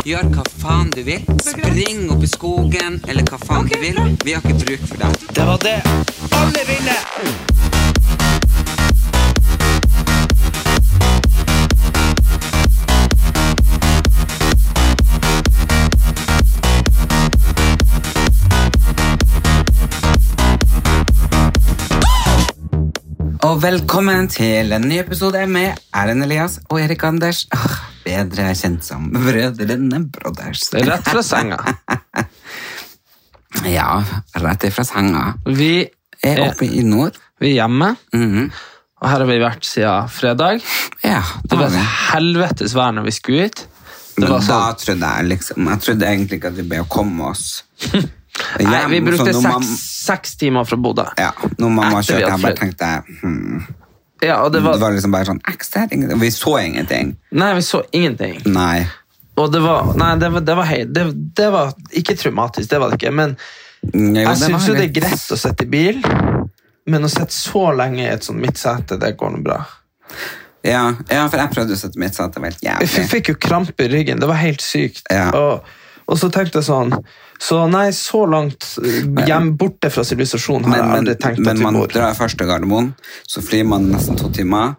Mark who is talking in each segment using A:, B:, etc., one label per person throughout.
A: Gjør hva faen du vil. Spring opp i skogen, eller hva faen du vil. Vi har ikke bruk for deg. Det var det alle ville! Og velkommen til en ny episode med Erlend Elias og Erik Anders. Åh, bedre kjent som Brødrene Brothers.
B: Rett fra senga.
A: Ja, rett ifra senga.
B: Vi
A: Er
B: er,
A: oppe i nord.
B: vi er hjemme,
A: Mhm.
B: og her har vi vært siden fredag.
A: Ja,
B: Det
A: har
B: var
A: vi.
B: et helvetes vær når vi skulle hit.
A: Men
B: Det var sånn,
A: da trodde jeg liksom Jeg trodde egentlig ikke at vi ble å komme oss.
B: nei, vi
A: hjem, så
B: brukte
A: når
B: seks,
A: mam-
B: seks timer fra Bodø.
A: ja, når mamma
B: Etter vi
A: kjørte, jeg
B: hadde
A: bare
B: flytt.
A: tenkte hmm.
B: Ja, og det
A: det, var,
B: var,
A: liksom bare sånn «Eks, det er ingenting». Vi så ingenting.
B: nei, vi så ingenting.
A: Nei.
B: Og det var, nei, det var, det var, hei, det, det var ikke traumatisk, det var det ikke, men
A: Mm, Jo,
B: jeg synes jo det er
A: litt-
B: greit å sette i bil, men å sette så lenge i et sånn midtsete, det går noe bra.
A: Ja, ja, for jeg prøvde å sette mitt, så det var helt
B: Jeg
A: jævlig.
B: fikk jo krampe i ryggen. Det var helt sykt.
A: Ja.
B: Og, og så tenkte jeg sånn Så nei, så langt eh, hjem borte fra sivilisasjon har
A: Men,
B: jeg aldri
A: men,
B: tenkt at
A: men
B: vi
A: man
B: bor.
A: drar først til Gardermoen, så flyr man nesten to timer,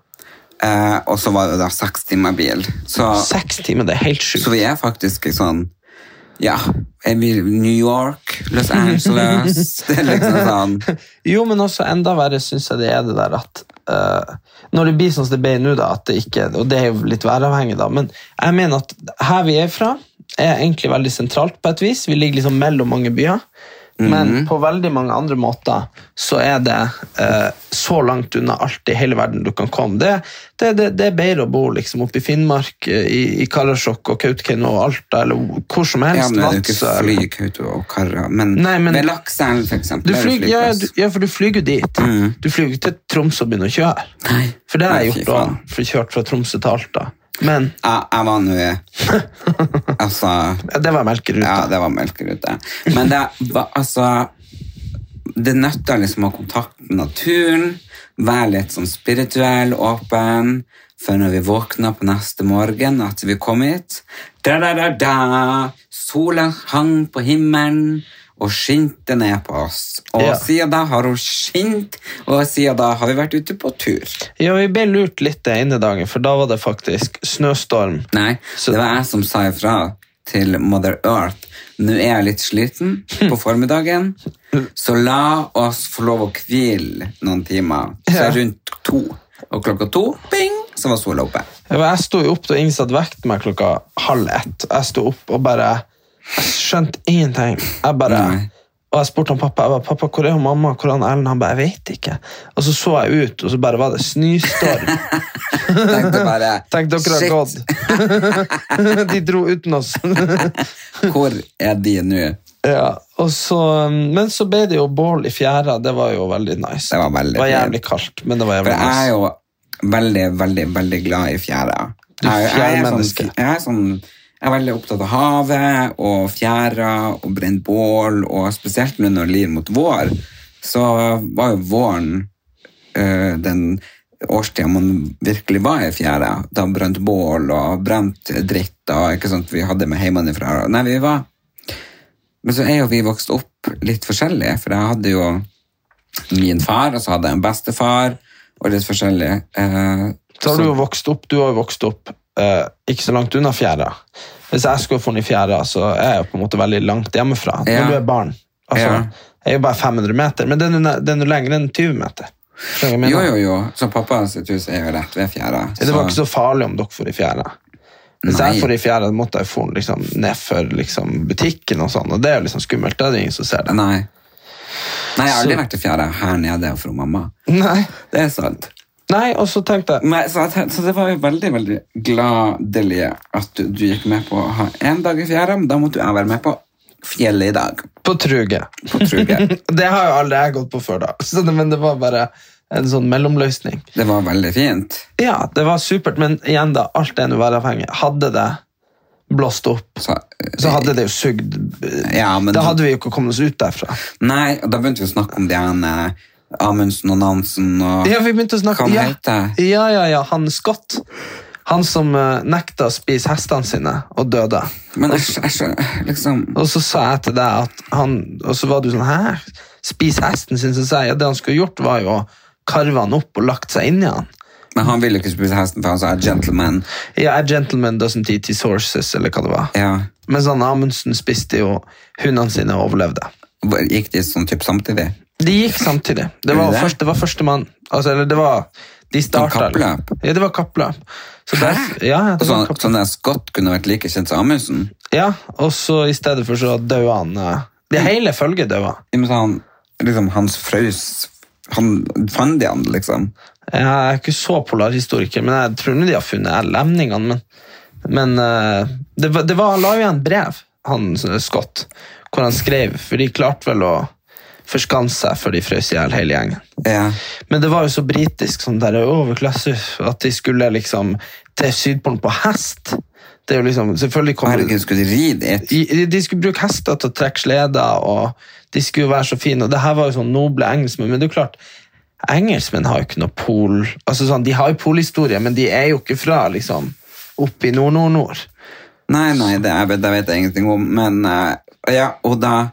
A: eh, og så var det da seks timer bil. Så,
B: Seks timer, det er helt sjukt.
A: så vi er faktisk i sånn Ja, er vi i New York, Los Angeles Det er liksom sånn
B: Jo, men også enda verre syns jeg det er det der at eh, Når det blir sånn som det ble nå, da, at det ikke Og det er jo litt væravhengig, da, men jeg mener at her vi er fra, er egentlig veldig sentralt på et vis. Vi ligger liksom mellom mange byer.
A: Mhm.
B: Men på veldig mange andre måter så er det eh, så langt unna alt i hele verden du kan komme. Det, det, det, det er bedre å bo liksom oppe i Finnmark, eh, i, i Karasjok og Kautokeino og Alta, eller hvor som
A: Ja,
B: helst.
A: men det er jo ikke
B: Vadsø, eller-
A: fly, Kautokeino og Karra, men,
B: Nei, men-
A: ved Lakselv, for eksempel.
B: du
A: der er det
B: flyg, ja, ja,
A: flyplass. Mm.
B: du, ja, for du flyr jo dit. Du flyr jo ikke til Tromsø og begynner å kjøre. For det har jeg
A: Nei, fy
B: gjort òg.
A: faen.
B: Kjørt fra Tromsø til Alta. Men
A: Ja, jeg var nå i Altså
B: ja, det var melkeruta.
A: Ja, det var melkerute. Men det var altså Det nøtter liksom å ha kontakt med naturen, være litt sånn spirituell, åpen, for når vi våkner på neste morgen at vi kom hit da, da, da, da, Sola hang på himmelen og skinte ned på oss. Og
B: Ja.
A: siden da har hun skint, og siden da har vi vært ute på tur.
B: Ja, vi ble lurt litt den ene dagen, for da var det faktisk snøstorm.
A: Nei,
B: Så-
A: det var jeg som sa ifra til Mother Earth. Nå er jeg litt sliten på formiddagen, så la oss få lov å hvile noen timer. Så
B: Ja.
A: rundt to. Og klokka to, bing, så var sola oppe.
B: Ja, men Jeg sto jo opp da Ingen satt vekt meg klokka halv ett. Jeg sto opp og bare Jeg skjønte ingenting. Jeg bare
A: Nei.
B: Og jeg spurte han pappa jeg bare, pappa, hvor er hun mamma, hvor er han Ellen. Han bare, jeg vet ikke. Og så så jeg ut, og så bare var det snøstorm.
A: Tenkte bare
B: Tenk, dere har
A: shit,
B: gått. De dro uten oss.
A: Hvor er de nå?
B: ja, og så, um, men så ble det jo bål i fjæra. Det var jo veldig nice.
A: Det var veldig
B: jævlig
A: fint.
B: kaldt, men det var
A: For
B: jævlig
A: jeg er
B: nice.
A: jo veldig, veldig, veldig glad i fjæra.
B: Du er
A: Jeg- jeg er sånn-
B: fjærmenneske.
A: Jeg er sånn jeg er veldig opptatt av havet og fjæra og brent bål, og spesielt nå når det lir mot vår, så var jo våren eh, den årstida man virkelig var i fjæra. Da brant bål og brant dritt og ikke sant, vi hadde med hjemmefra. Nei, vi var Men så er jo vi vokst opp litt forskjellig, for jeg hadde jo min far, og så hadde jeg en bestefar, og litt forskjellig. Eh,
B: Så har du jo vokst opp, du har jo vokst opp eh, ikke så langt unna fjæra. Hvis jeg skulle funnet fjæra, så er jeg jo på en måte veldig langt hjemmefra.
A: Ja.
B: Når du er barn. Altså,
A: Ja.
B: Jeg er jo bare 500 meter, men den er ne- den er lengre enn 20 meter. Skjønner du hva jeg mener?
A: jo, jo, jo. Så pappa sitt hus er jo rett ved fjæra.
B: Ja, Det var ikke så farlig om dere for i fjæra. Hvis
A: Nei.
B: jeg for i fjæra, da måtte jeg få den liksom, ned for liksom, butikken, og sånn, og det er jo liksom skummelt. Det er det ingen som ser det.
A: Nei. Nei, jeg har aldri
B: Så-
A: vært i fjæra her nede fra mamma.
B: Nei.
A: Det er sant.
B: Nei, og så tenkte jeg
A: Nei, så, jeg ten- så det var jo veldig veldig gladelig at du, du gikk med på å ha én dag i fjæra, men da måtte jo jeg være med på fjellet i dag.
B: på truget.
A: På Truge.
B: Det har jo aldri jeg gått på før, da. Så, det- men det var bare en sånn mellomløsning.
A: Det var veldig fint.
B: Ja, det var supert, men igjen, da, alt er nå væravhengig. Hadde det blåst opp,
A: Så,
B: så hadde det jo sugd
A: Ja, men-
B: Da hadde vi jo ikke kommet oss ut derfra.
A: Nei, og da begynte vi å snakke om det han eh, Amundsen og Nansen og
B: Ja, vi begynte å snakke
A: Hva han
B: ja.
A: heter?
B: Ja, ja, ja, han Scott. Han som eh, nekta å spise hestene sine og døde.
A: Men jeg, skj- jeg, skjønner, liksom
B: Og så sa jeg til deg at han Og så var du sånn Hæ? Spis hesten sin? Så sa jeg ja, det han skulle gjort, var jo å karve han opp og lagt seg inni han.
A: Men han ville jo ikke spise hesten, for han sa 'gentleman'.
B: Ja, a gentleman doesn't eat his horses, eller hva det var.
A: Ja.
B: Mens han Amundsen spiste jo hundene sine og overlevde.
A: Gikk de sånn typ samtidig?
B: De gikk samtidig. Det var,
A: Gjorde de det?
B: først, det var førstemann. Altså, eller det var De starta
A: kappløp?
B: Ja, det var kappløp. Så der- ja, ja,
A: Og
B: det var
A: sånn,
B: kappløp.
A: sånn der Scott kunne vært like kjent som Amundsen?
B: Ja, og så i stedet for så døde han eh, Det hele følget døde.
A: Ja, men så han, liksom, hans frøs han, Fant de han, liksom?
B: Jeg er ikke så polarhistoriker, men jeg tror nå de har funnet lemningene. Men, men eh, det, var, det var, han la jo igjen brev, han eh, Scott, hvor han skrev, for de klarte vel å forskanse seg før de frøs i hjel hele gjengen.
A: Ja.
B: Men det var jo så britisk sånn der overklasse at de skulle liksom til Sydpolen på hest. Det er jo liksom, selvfølgelig kommer
A: Herregud, skulle de ri dit?
B: I- de, de skulle bruke hester til å trekke sleder, og de skulle være så fine. Og det her var jo sånn noble engelskmenn, men det er jo klart, engelskmenn har jo ikke noe pol... Altså sånn, De har jo polhistorie, men de er jo ikke fra liksom oppe i nord-nord-nord.
A: Nei, nei, det, jeg vet, det vet jeg ingenting om, men eh, Ja, og da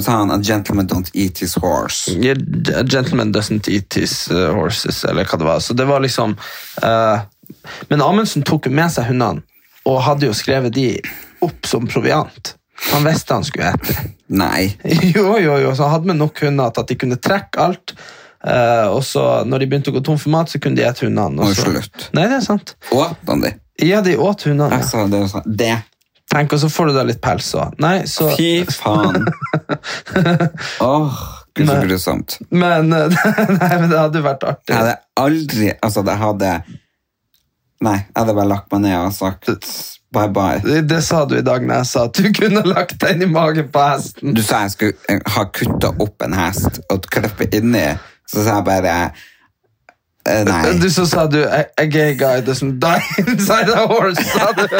A: sa han 'A gentleman don't eat his horse'.
B: Yeah, A gentleman doesn't eat his uh, horses, eller hva det var. Så det var liksom eh, Men Amundsen tok jo med seg hundene, og hadde jo skrevet de opp som proviant. Han visste han skulle ete.
A: Nei.
B: Jo, jo, jo. Så han hadde med nok hunder til at de kunne trekke alt. Eh, og så når de begynte å gå tom for mat, så kunne de ete hundene.
A: Og
B: så-
A: slutt.
B: Nei, det er sant.
A: Åt han de?
B: Ja, de åt hundene.
A: Jeg sa det og sa det.
B: Tenk, og så får du da litt pels òg. Nei, så
A: Fy faen. Åh, gud, så grusomt.
B: Men, eh, nei, men det hadde jo vært artig.
A: Jeg hadde aldri Altså, jeg hadde Nei, jeg hadde bare lagt meg ned og sagt bye bye.
B: Det, det sa du i dag når jeg sa at du kunne lagt deg inn i magen på hesten.
A: Du sa jeg skulle eh, ha kutta opp en hest og klippe inni, så sa jeg bare eh, Nei.
B: Du så sa du a, a gay guy doesn't die inside a horse, sa du.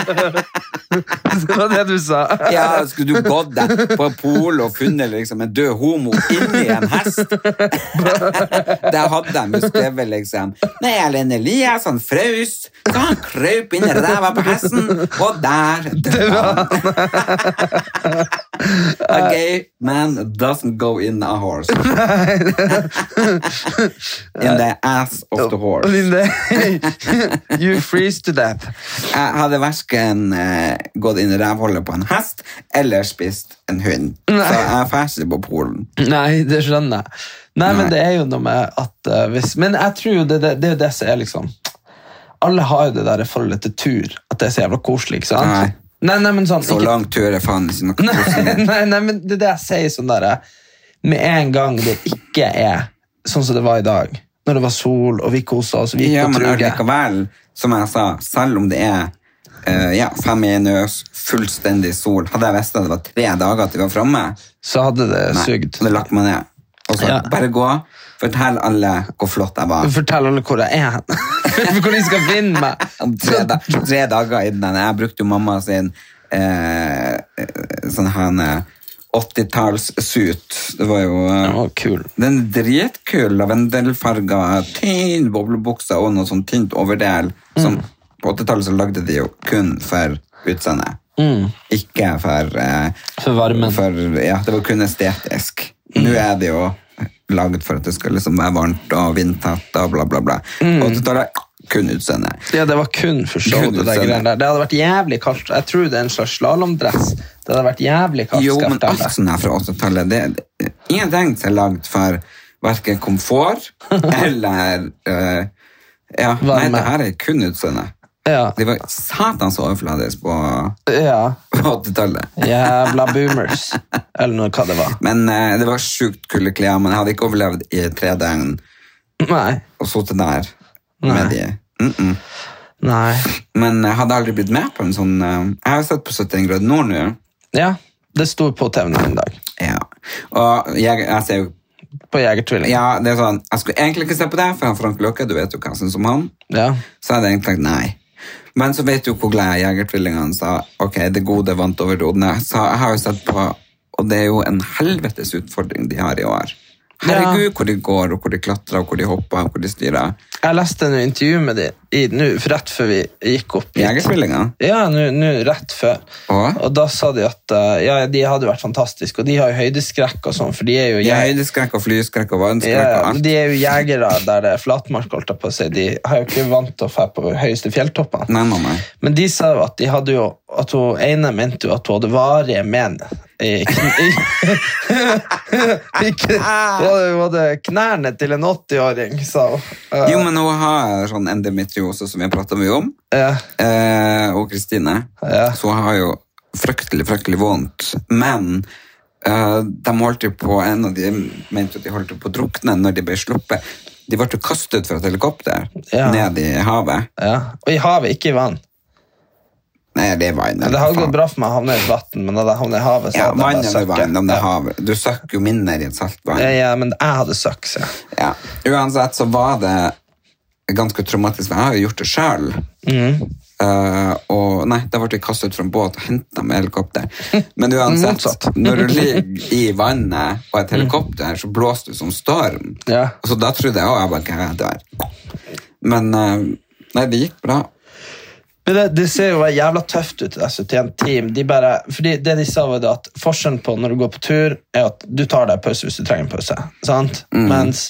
B: Det var det du sa.
A: Ja, skulle du gått deg på polet og funnet liksom en død homo inni en hest? Der hadde de jo skrevet liksom Nei, Erlend Elias, han frøs, så han krøp inn i ræva på hesten, og der døde han. A gay man doesn't go in a horse. In the ass of the horse.
B: Linde, you freeze to death.
A: Jeg hadde hverken eh, gått inn i rævhullet på en hest eller spist en hund. Så jeg drar ikke på Polen.
B: Nei, det skjønner jeg. Nei, men det er jo noe med at eh, hvis, Men jeg tror jo det, det, det er jo det som er liksom Alle har jo det der forholdet til tur, at det er så jævla koselig, ikke sant?
A: Nei.
B: Nei, nei, men sånn
A: Så
B: ikke-
A: lang tur er faen ikke noe
B: Nei,
A: koselig.
B: nei, nei, men det er det jeg sier sånn der Med en gang det ikke er sånn som det var i dag, når det var sol, og vi kosa oss, vi gikk
A: Ja,
B: på
A: men
B: truget
A: allikevel, som jeg sa, selv om det er eh, ja, fem i nøs, fullstendig sol Hadde jeg visst at det var tre dager til vi var framme,
B: så hadde det sugd.
A: hadde jeg lagt meg ned. Og så
B: Ja.
A: bare gå. Fortell alle hvor flott jeg var.
B: Fortell alle hvor jeg er hen. hvor de skal finne meg.
A: Om tre, da, tre dager innan. Jeg brukte jo mamma sin eh, eh, sånn her eh, 80-talls-suit. Det var jo
B: Den
A: eh,
B: var kul.
A: Den er dritkul lavendelfarga, tynn boblebukse og noe sånn tynt overdel.
B: Mm.
A: Som på 80-tallet så lagde de jo kun for utseendet. Ikke for eh,
B: Mm. For varmen. Mm.
A: For, ja, det var kun estetisk. Nå er det jo lagd for at det skal liksom være varmt og vindtett og bla, bla, bla.
B: Mm.
A: På 80-tallet kun utseende.
B: Ja, det var kun for show.
A: Kun
B: det,
A: for
B: der
A: show.
B: greiene der. det hadde vært jævlig kaldt. Jeg tror det er en slags slalåmdress. Det hadde vært jævlig kaldt.
A: Jo,
B: skal jeg
A: men
B: fortelle
A: alt
B: deg.
A: sånn her fra 80-tallet det, det, Ingenting som er lagd for hverken komfort eller eh, Ja, nei,
B: Varme.
A: det her er kun utseende.
B: Ja,
A: De var satans overfladisk på
B: ja.
A: på 80-tallet.
B: Jævla boomers. Eller noe, hva det var.
A: Men eh, det var sjukt kulde klær, men jeg hadde ikke overlevd i tre døgn
B: Nei.
A: og sittet der med de. Mm -mm.
B: Nei.
A: Men jeg hadde aldri blitt med på en sånn eh, Jeg har jo sett på 71 grader nord nå.
B: Ja, det sto på TV-en en dag.
A: Ja. Og jeg, jeg ser jo
B: På Jegertvilling.
A: Ja, det er sånn Jeg skulle egentlig ikke se på det, for han Frank Løkke, du vet jo hva jeg syns om han.
B: Ja.
A: Så hadde jeg egentlig sagt nei. Men så vet du hvor glad jeg er i Jegertvillingene, sa ok, det gode vant over det onde. Så jeg har jo sett på, og det er jo en helvetes utfordring de har i år. Herregud, hvor de går, og hvor de klatrer, og hvor de hopper, og hvor de styrer.
B: Jeg leste en intervju med dem i, nå, for rett før vi gikk opp. hit.
A: Jegertvillingene.
B: Ja, nå nå rett før.
A: Å?
B: Og da sa de at eh, ja, de hadde vært fantastiske, og de har jo høydeskrekk og sånn, for de er jo
A: Ja,
B: jeg-
A: høydeskrekk og flyskrekk og vannskrekk og
B: Ja,
A: alt.
B: de er jo jegere der det er flatmark, holdt jeg på å si. De har jo ikke vant til å dra på høyeste fjelltoppene.
A: Nei, nei, nei.
B: Men de sa jo at de hadde jo At hun ene mente jo at hun hadde varige men i, kn i, i, kn- hun hadde, hun hadde knærne til en 80-åring, sa hun. Eh,
A: Jo, men hun har sånn endometriose som vi har pratet mye om,
B: eh,
A: eh, og Kristine.
B: Ja.
A: Så hun har jo fryktelig, fryktelig vondt. Men eh, de holdt jo på, en av de mente jo at de holdt jo på å drukne når de ble sluppet. De ble jo kastet fra et helikopter
B: Ja.
A: ned i havet.
B: ja. Og i havet, ikke i vann.
A: Nei, det er vann.
B: Det hadde gått bra for meg å havne i et vann, men hadde jeg havnet i havet, så
A: Ja,
B: hadde
A: vann
B: jeg
A: eller
B: bare
A: vann, om det er
B: søkket.
A: havet. Du søkker jo mindre i et saltvann.
B: Ja. ja, men jeg hadde søkt, så jeg.
A: Ja. Uansett så var det ganske traumatisk. for Jeg har jo gjort det sjøl.
B: Mm.
A: og nei, da ble vi kastet ut fra en båt og henta med helikopter. Men uansett,
B: Motsatt.
A: når du ligger i vannet og et helikopter, så blåser du som storm.
B: Ja.
A: Så da trodde jeg òg jeg bare «Hva er det her?» Men eh, nei, det gikk bra.
B: Men det, det ser jo jævla tøft ut, det S71 Team. De bare, fordi det de sa var det at Forskjellen på når du går på tur, er at du tar deg en pause hvis du trenger en pause. Sant?
A: Mm.
B: Mens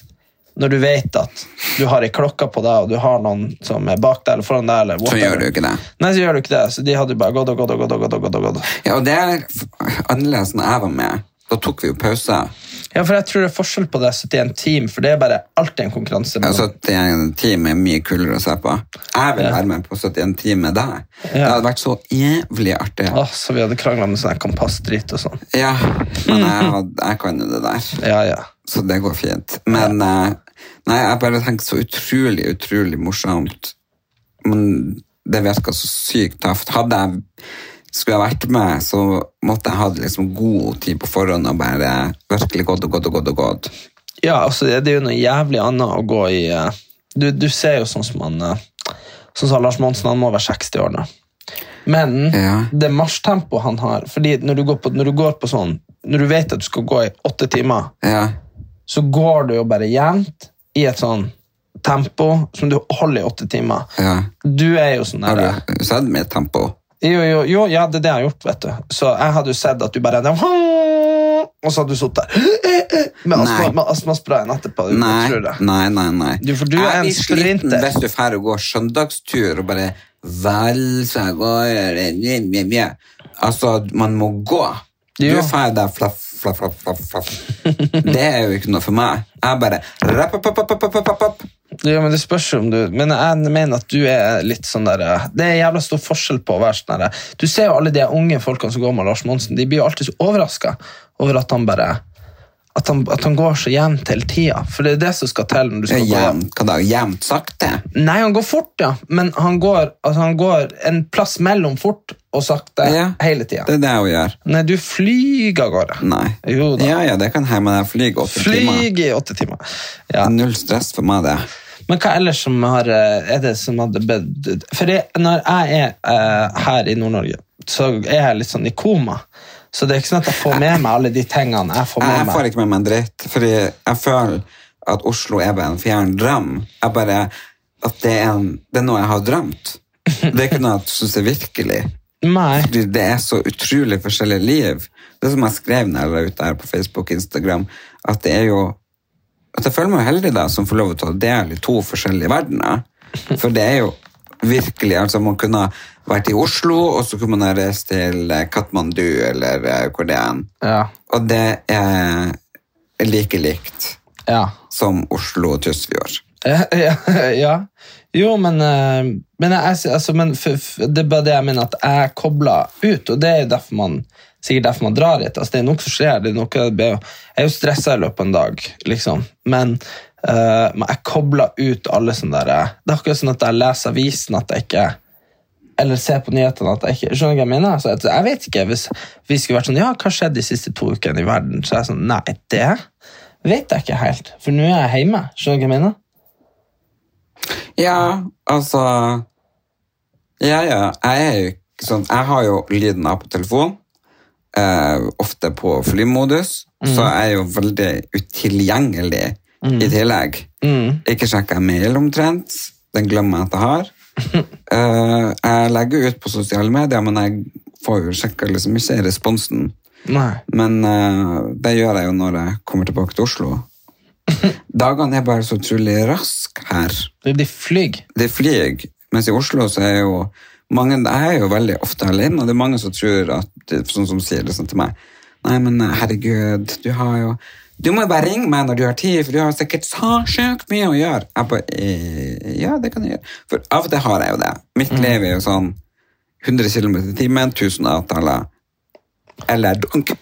B: når du vet at du har ei klokke på deg, og du har noen som er bak deg eller foran deg eller
A: Så
B: whatever.
A: gjør du jo ikke det.
B: Nei, så gjør du ikke det. Så de hadde jo bare gått og gått og gått. og gått og gått og gått.
A: Ja, og det er f- annerledes når jeg var med. Da tok vi jo pause.
B: Ja, for jeg tror det er forskjell på det S71 Team, for det er bare alltid en konkurranse. mellom-
A: Altså, 71 time er mye kulere å se på. Jeg vil være med på 71 time med deg. Det hadde vært så jævlig artig.
B: Åh, så vi hadde krangla med sånn her kompassdrit og sånn.
A: Ja, men jeg, had- jeg kan jo det der,
B: Ja, ja.
A: så det går fint. Men eh, nei, jeg bare tenker så utrolig, utrolig morsomt. Men det virka så sykt tøft. Hadde jeg skulle jeg vært med, så måtte jeg hatt liksom god tid på forhånd og bare virkelig gått og gått og gått. og gått.
B: Ja, altså det det er jo noe jævlig annet å gå i eh, Du, du ser jo sånn som han eh, Sånn som Lars Monsen, han må være 60 år nå. Men
A: Ja.
B: det marsjtempoet han har fordi når du, går på, når du går på sånn Når du vet at du skal gå i åtte timer,
A: Ja,
B: så går du jo bare jevnt i et sånn tempo som du holder i åtte timer.
A: ja.
B: Du er jo sånn
A: Har
B: der, eh,
A: du sett mitt tempo?
B: jo, jo, jo, ja, det er det jeg har gjort, vet du. Så jeg hadde jo sett at du bare Og så hadde du sittet der med astma-
A: Nei.
B: med astmasprayen etterpå. du
A: Nei,
B: tror det.
A: nei, nei. nei.
B: Du- for du er en
A: litt sliten
B: sprinter.
A: Hvis du drar og går søndagstur og bare valser av gårde mje, mje, mje. Altså, man må gå. Du
B: Jo.
A: drar der flaff, flaff, flaff, flaff, flaff. Det er jo ikke noe for meg. Jeg bare rapp, opp, opp, opp, opp, opp, opp, opp.
B: Ja, men det spørs jo om du Men jeg mener at du er litt sånn der eh, Det er jævla stor forskjell på å være sånn der eh, Du ser jo alle de unge folkene som går med Lars Monsen, de blir jo alltid så overraska over at han bare At han, at han går så jevnt hele tida. For det er det som skal til når du
A: Det er
B: skal gå
A: Jevnt, hva da? Jevnt sakte?
B: Nei, han går fort, ja, men han går, altså han går en plass mellom fort og sakte
A: Ja.
B: hele tida.
A: Det er det jeg gjør.
B: Nei, du flyger av gårde.
A: Nei.
B: Jo da.
A: Ja, ja, det kan hende jeg flyr åtte timer.
B: Flyger i åtte timer. Ja.
A: Null stress for meg, det.
B: Men hva ellers som har, eh, er det som hadde bedt For det, når jeg er eh, her i Nord-Norge, så er jeg litt sånn i koma. Så det er ikke sånn at jeg får med meg alle de tingene jeg får
A: Jeg
B: med
A: får
B: meg.
A: ikke med meg en dritt, fordi jeg føler at Oslo er bare en fjern drøm. Jeg bare, at det er, en, det er noe jeg har drømt. Det er ikke noe jeg synes er virkelig.
B: Nei.
A: Fordi det er så utrolig forskjellige liv. Det som jeg skrev når jeg la ut det her på Facebook og Instagram, at det er jo at jeg føler meg heldig da, som får lov til å ta del i to forskjellige verdener. For det er jo virkelig, altså man kunne ha vært i Oslo, og så kunne man ha reist til eh, Katmandu, eller eh, hvor det er.
B: Ja.
A: Og det er like likt
B: Ja.
A: som Oslo og Tysfjord.
B: Ja, ja, ja. Jo, men, eh, men, jeg, jeg- altså, men f, f, det er bare det jeg mener at jeg kobler ut, og det er jo derfor man, sikkert derfor man drar hit. Altså, det er noe som skjer, det er noe, jeg blir jo- jeg er jo stressa i løpet av en dag, liksom. men Eh, men jeg kobler ut alle sånne der Det er akkurat sånn at jeg leser avisen at jeg ikke Eller ser på nyhetene at jeg ikke Skjønner du hva jeg mener? Altså, at jeg vet ikke. Hvis vi skulle vært sånn Ja, hva skjedde de siste to ukene i verden? Så er jeg sånn Nei, det vet jeg ikke helt. For nå er jeg hjemme. Skjønner du hva jeg mener?
A: Ja, altså Ja, ja. Jeg er jo ikke sånn Jeg har jo lyden av på telefon. Eh, ofte på flymodus. Så jeg er jo veldig utilgjengelig i tillegg. Ikke sjekker jeg mail omtrent. Den glemmer jeg at jeg har. Eh, jeg legger ut på sosiale medier, men jeg får jo sjekka liksom ikke responsen.
B: Nei.
A: Men eh, det gjør jeg jo når jeg kommer tilbake til Oslo. Dagene er bare så utrolig raske her
B: Det er de flyr.
A: det flyr, mens i Oslo så er jo mange, jeg er jo veldig ofte alene, og det er mange som tror at, sånn som sier det sånn til meg, nei, men eh, herregud, du har jo, du må jo bare ringe meg når du har tid, for du har sikkert så sjukt mye å gjøre. Jeg bare, «Eh, ja, det kan jeg gjøre. For av og til har jeg jo det. Mitt liv er jo sånn 100 km i timen, 1000 avtaler, eller dunk.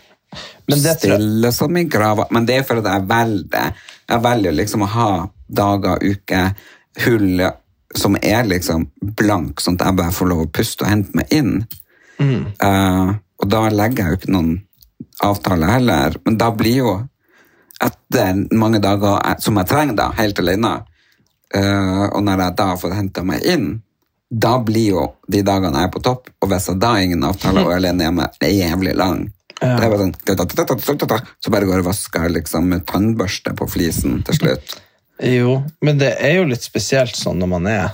B: Men det tror jeg-
A: Stille som i grava. Men det er for at jeg velger, jeg velger liksom å ha dager, uker, hull som er liksom blank, sånn at jeg bare får lov å puste og hente meg inn.
B: Mm.
A: Eh, og da legger jeg jo ikke noen avtale heller, men da blir jo etter mange dager jeg- som jeg trenger da, helt alene, eh, og når jeg da har fått hentet meg inn, da blir jo de dagene jeg er på topp, og hvis jeg da har ingen avtale og er alene hjemme, det er jævlig lang. Det er bare sånn, da-da-da-da-da-da-da, så bare går jeg og vasker liksom med tannbørste på flisen til slutt.
B: Jo, men det er jo litt spesielt sånn når man er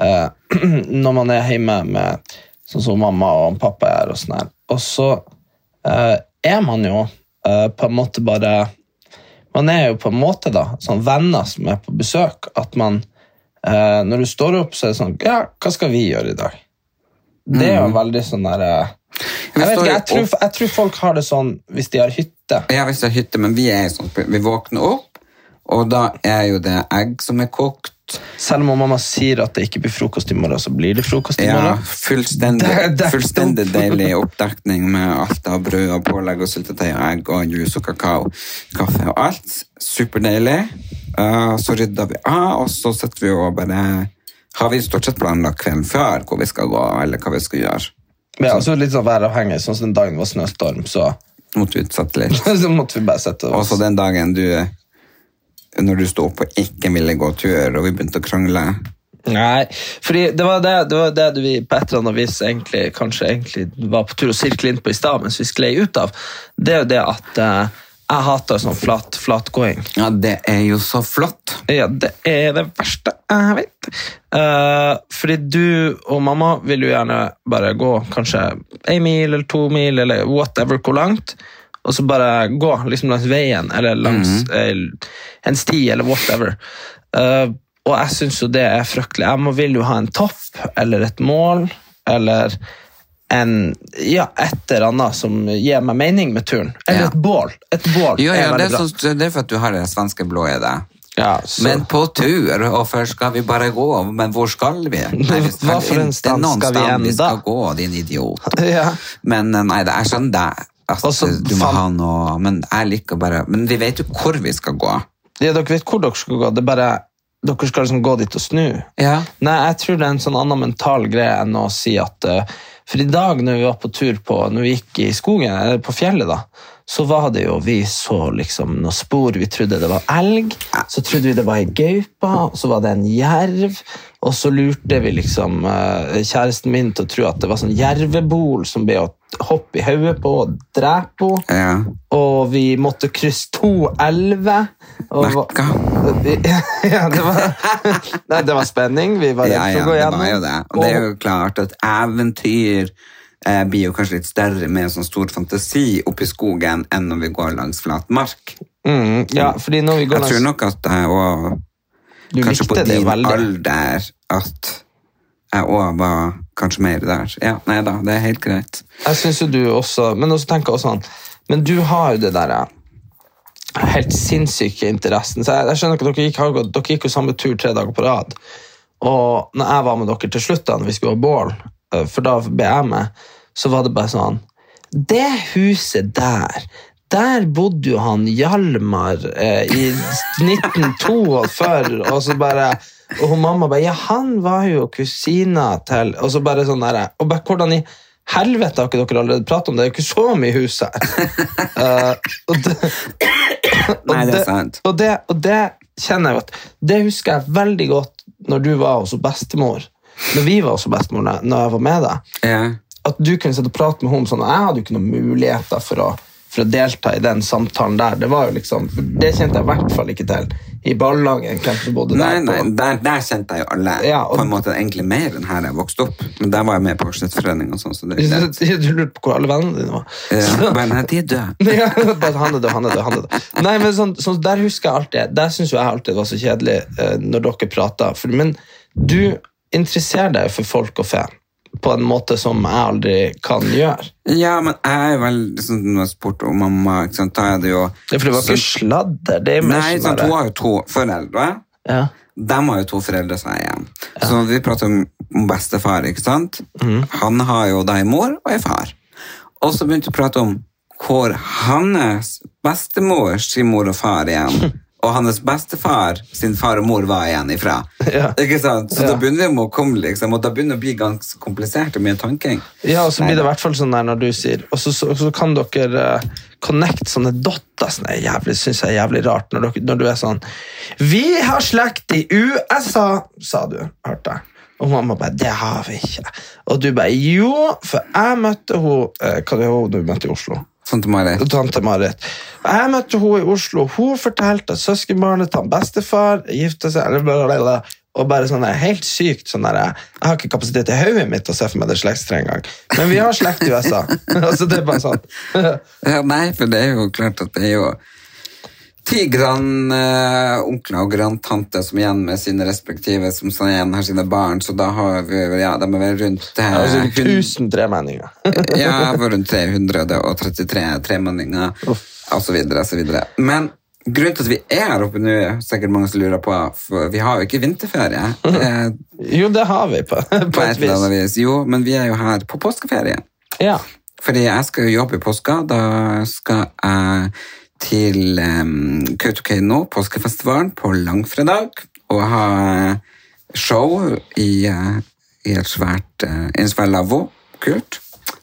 B: eh, Når man er hjemme med sånn som mamma og pappa er og sånn her, og så eh, er man jo eh, på en måte bare Man er jo på en måte da sånn venner som er på besøk, at man eh, Når du står opp, så er det sånn Ja, hva skal vi gjøre i dag? Det er jo veldig sånn der eh, Jeg vet ikke, jeg tror, jeg tror folk har det sånn hvis de har hytte.
A: Ja, hvis det er hytte, men vi er jo sånn, vi våkner opp, og da er jo det egg som er kokt,
B: Selv om mamma sier at det ikke blir frokost i morgen, så blir det frokost i
A: ja,
B: morgen.
A: fullstendig,
B: Det er dekt opp.
A: fullstendig deilig oppdekning med alt av brød og pålegg og syltetøy og egg og juice og kakao, kaffe og alt. Superdeilig. Eh, så rydder vi av, og så setter vi og bare Har vi stort sett planlagt kvelden før hvor vi skal gå, eller hva vi skal gjøre?
B: Ja, og så litt sånn væravhengig. Sånn som den dagen det var snøstorm, så,
A: Måtte utsette litt.
B: så måtte vi bare sette
A: Og
B: oss.
A: så den dagen du Når du sto opp og ikke ville gå tur, og vi begynte å krangle.
B: Nei, fordi det var det, det, var det du vi på et eller annet vis egentlig, kanskje egentlig var på tur å sirkle inn på i stad, mens vi sklei ut av, det er jo det at eh, jeg hater sånn flat, flatgåing.
A: Ja, det er jo så flott.
B: Ja, det er det verste jeg vet. Eh, fordi du og mamma vil jo gjerne bare gå kanskje en mil eller to mil, eller whatever hvor langt, og så bare gå liksom langs veien, eller langs
A: Mhm.
B: eh, en sti, eller whatever. Eh, og jeg syns jo det er fryktelig. Jeg må, vil jo ha en topp, eller et mål, eller en, ja, et eller annet som gir meg mening med turen. Eller
A: Ja.
B: et bål. Et bål
A: Jo, ja,
B: er
A: det,
B: veldig
A: er
B: bra.
A: sånn- det er for at du har det svenske blodet i deg.
B: ja, så-
A: Men på tur, og først skal vi bare gå, men hvor skal vi? Nei, vi skal
B: Hva for en
A: ikke
B: stand
A: noen
B: skal vi
A: stand
B: enda?
A: Vi skal gå, din idiot.
B: Ja.
A: Men eh, nei, det er sånn det er. at
B: Og så
A: du må
B: faen-
A: ha noe, men jeg liker bare, men vi vet jo hvor vi skal gå.
B: Ja, dere vet hvor dere skal gå. Det er bare, dere skal liksom gå dit og snu.
A: Ja.
B: Nei, jeg tror det er en sånn annen mental greie enn å si at eh, For i dag når vi var på tur på Når vi gikk i skogen, eller på fjellet, da, så var det jo Vi så liksom noen spor. Vi trodde det var elg, så trodde vi det var ei gaupe, og så var det en jerv. Og så lurte vi liksom eh, kjæresten min til å tro at det var sånn jervebol som ble å hoppe i hodet på og drepe henne
A: ja.
B: og vi måtte krysse to elver. og hva-
A: Merka.
B: Ja, det var, nei, det var spenning. Vi var
A: Ja, ja,
B: redd for å gå
A: det
B: gjennom.
A: var jo det. Og det er jo klart at eventyr eh, blir jo kanskje litt større med sånn stor fantasi oppe i skogen enn når vi går langs flat mark.
B: mm, ja, fordi når vi går
A: Jeg tror nok at eh, jeg også
B: Du
A: kanskje på
B: likte det
A: din
B: veldig.
A: alder at jeg òg var kanskje mer der. Ja, nei da, det er helt greit.
B: Jeg synes jo du også Men også tenker jeg også sånn Men du har jo det der eh, helt sinnssyke interessen. Så jeg, jeg skjønner ikke, dere gikk, har gått- dere gikk jo samme tur tre dager på rad. Og når jeg var med dere til slutt, da når vi skulle ha bål, eh, for da ble jeg med, så var det bare sånn Det huset der, Der bodde jo han Hjalmar eh, i 1902 før, og så bare Og hun mamma bare Ja, han var jo kusina til Og så bare sånn derre Og bare hvordan i helvete har ikke dere allerede pratet om det? Det er jo ikke så mye hus her. Eh, og det,
A: Nei, det er
B: det-
A: sant.
B: og det, og det kjenner jeg jo at Det husker jeg veldig godt når du var hos bestemor. Når vi var hos bestemor da- når jeg var med deg.
A: Ja.
B: At du kunne sitte og prate med henne sånn. Jeg hadde jo ikke noen muligheter for å, for å delta i den samtalen der. Det var jo liksom, det kjente jeg i hvert fall ikke til i barnehagen. hvem som bodde
A: Nei,
B: der
A: nei,
B: på.
A: der, der kjente jeg jo alle.
B: Ja, og-
A: på en måte egentlig mer enn her jeg vokste opp. Men der var jeg med på Sløttforening og sånn. Så det, er greit.
B: Du lurte på hvor alle vennene dine var.
A: ja.
B: Så-
A: Bare, nei, de er døde.
B: Ja, bare han er død, han er død, han er død. Nei, men sånn, sånn, der husker jeg alltid Der synes jo jeg alltid det var så kjedelig eh, når dere prater. For, men du interesserer deg for folk og fe på en måte som jeg aldri kan gjøre.
A: Ja, men jeg er jo veldig sånn når jeg spurte om mamma, ikke sant, da er det jo sånn-
B: Ja, for det var ikke sladder. Det er mer
A: Nei,
B: sånn
A: sant, hun
B: derre-
A: har jo to foreldre.
B: ja.
A: De har jo to foreldre seg igjen. Så vi prater om om bestefar, ikke sant?
B: Mm.
A: Han har jo da en mor og en far. Og så begynte vi å prate om hvor hans bestemor sin mor og far igjen, og hans bestefar sin far og mor var igjen ifra.
B: Ja.
A: Ikke sant? Så
B: Ja.
A: da begynner vi å komme, liksom, og da begynner det å bli ganske komplisert og mye tanking.
B: ja, og så blir det i hvert fall sånn der når du sier Og så, så, så kan dere eh, connect sånne dotter. Sånn, det er jævlig, synes jeg er jævlig rart når, dere, når du er sånn Vi har slekt i USA, sa du. Hørte jeg. Og mamma bare 'Det har vi ikke'. Og du bare 'Jo, for jeg møtte hun eh, Hva det er hun du møtte i Oslo?
A: Sånn til Marit.
B: Tante Marit. Jeg møtte henne i Oslo. Hun fortalte at søskenbarnet til han bestefar gifta seg eller bla, bla, bla, bla. Og bare sånn der, helt sykt sånn der, Jeg har ikke kapasitet i hodet mitt til å se for meg det slektstreet engang. Men vi har slekt i USA. altså, det er bare sånn.
A: Ja, nei, for det er jo klart at det er jo ti grandonkler og grandtanter som igjen med sine respektive, som så igjen har sine barn, så da har vi ja, de er vel rundt eh,
B: altså,
A: hun-
B: tusen tremenninger.
A: ja, for rundt 333 tremenninger, og så videre, og så videre. Men grunnen til at vi er her oppe nå, er sikkert mange som lurer på, for vi har jo ikke vinterferie eh,
B: jo, det har vi på,
A: på
B: på
A: et
B: et
A: eller
B: vis.
A: annet vis. Jo, men vi er jo her på påskeferie.
B: Ja.
A: Fordi jeg skal jo jobbe i påska. Da skal jeg til um, Kautokeino, påskefestivalen, på langfredag. Og ha eh, show i, eh, i et svært, eh, i en svær lavvo. Kult.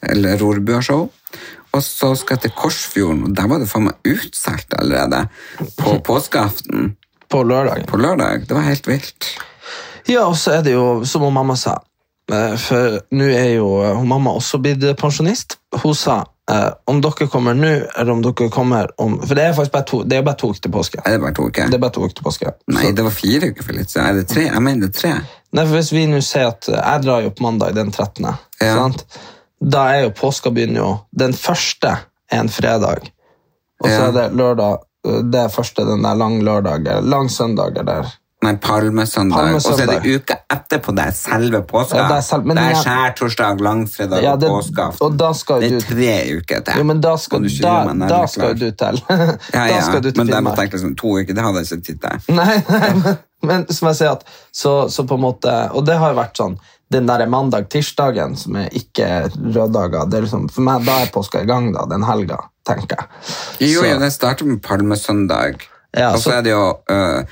A: Eller Rorbua-show. Og så skal jeg til Korsfjorden, og der var det faen meg utsolgt allerede. På påskeaften
B: På lørdag.
A: på lørdag. Det var helt vilt.
B: Ja, og så er det jo, som hun mamma sa eh, For nå er jo eh, hun mamma også blitt pensjonist. Hun sa eh, om dere kommer nå, eller om dere kommer om For det er faktisk bare to, det er bare to uker til påske.
A: Er det bare to uker?
B: Det er bare to uker til påske.
A: Nei, det var fire uker for litt siden. Er det tre? Jeg mener det er tre.
B: Nei, for Hvis vi nå sier at eh, jeg drar jo på mandag den 13.,
A: Ja.
B: sant? da er jo påska begynner jo Den første er en fredag, og så
A: Ja.
B: er det lørdag eh, Det er første den der lang lørdag, eller lang søndag eller
A: Nei, palmesøndag.
B: Palmesøndag.
A: Og så er det uka etterpå det er selve påska.
B: Ja, det er selv- men
A: det er
B: jeg-
A: skjærtorsdag, langfredag
B: Ja, det-
A: og påskeaften.
B: og da skal
A: det
B: du-
A: er tre uker til.
B: Jo, men da skal,
A: Kan
B: du,
A: ikke
B: da,
A: gjøre meg nærmere
B: da skal
A: klar?
B: du til
A: ja, ja.
B: Da skal du til
A: Men jeg
B: Finnmark.
A: tenkte liksom to uker, det hadde jeg ikke tid til.
B: Nei, nei men, men som jeg sier at så, så på en måte, Og det har jo vært sånn den der mandag-tirsdagen som er ikke røddager det er liksom, For meg, da er påska i gang, da, den helga, tenker jeg.
A: Jo,
B: Så-
A: jo, det starter med palmesøndag.
B: Ja,
A: og så
B: så-
A: er det jo øh,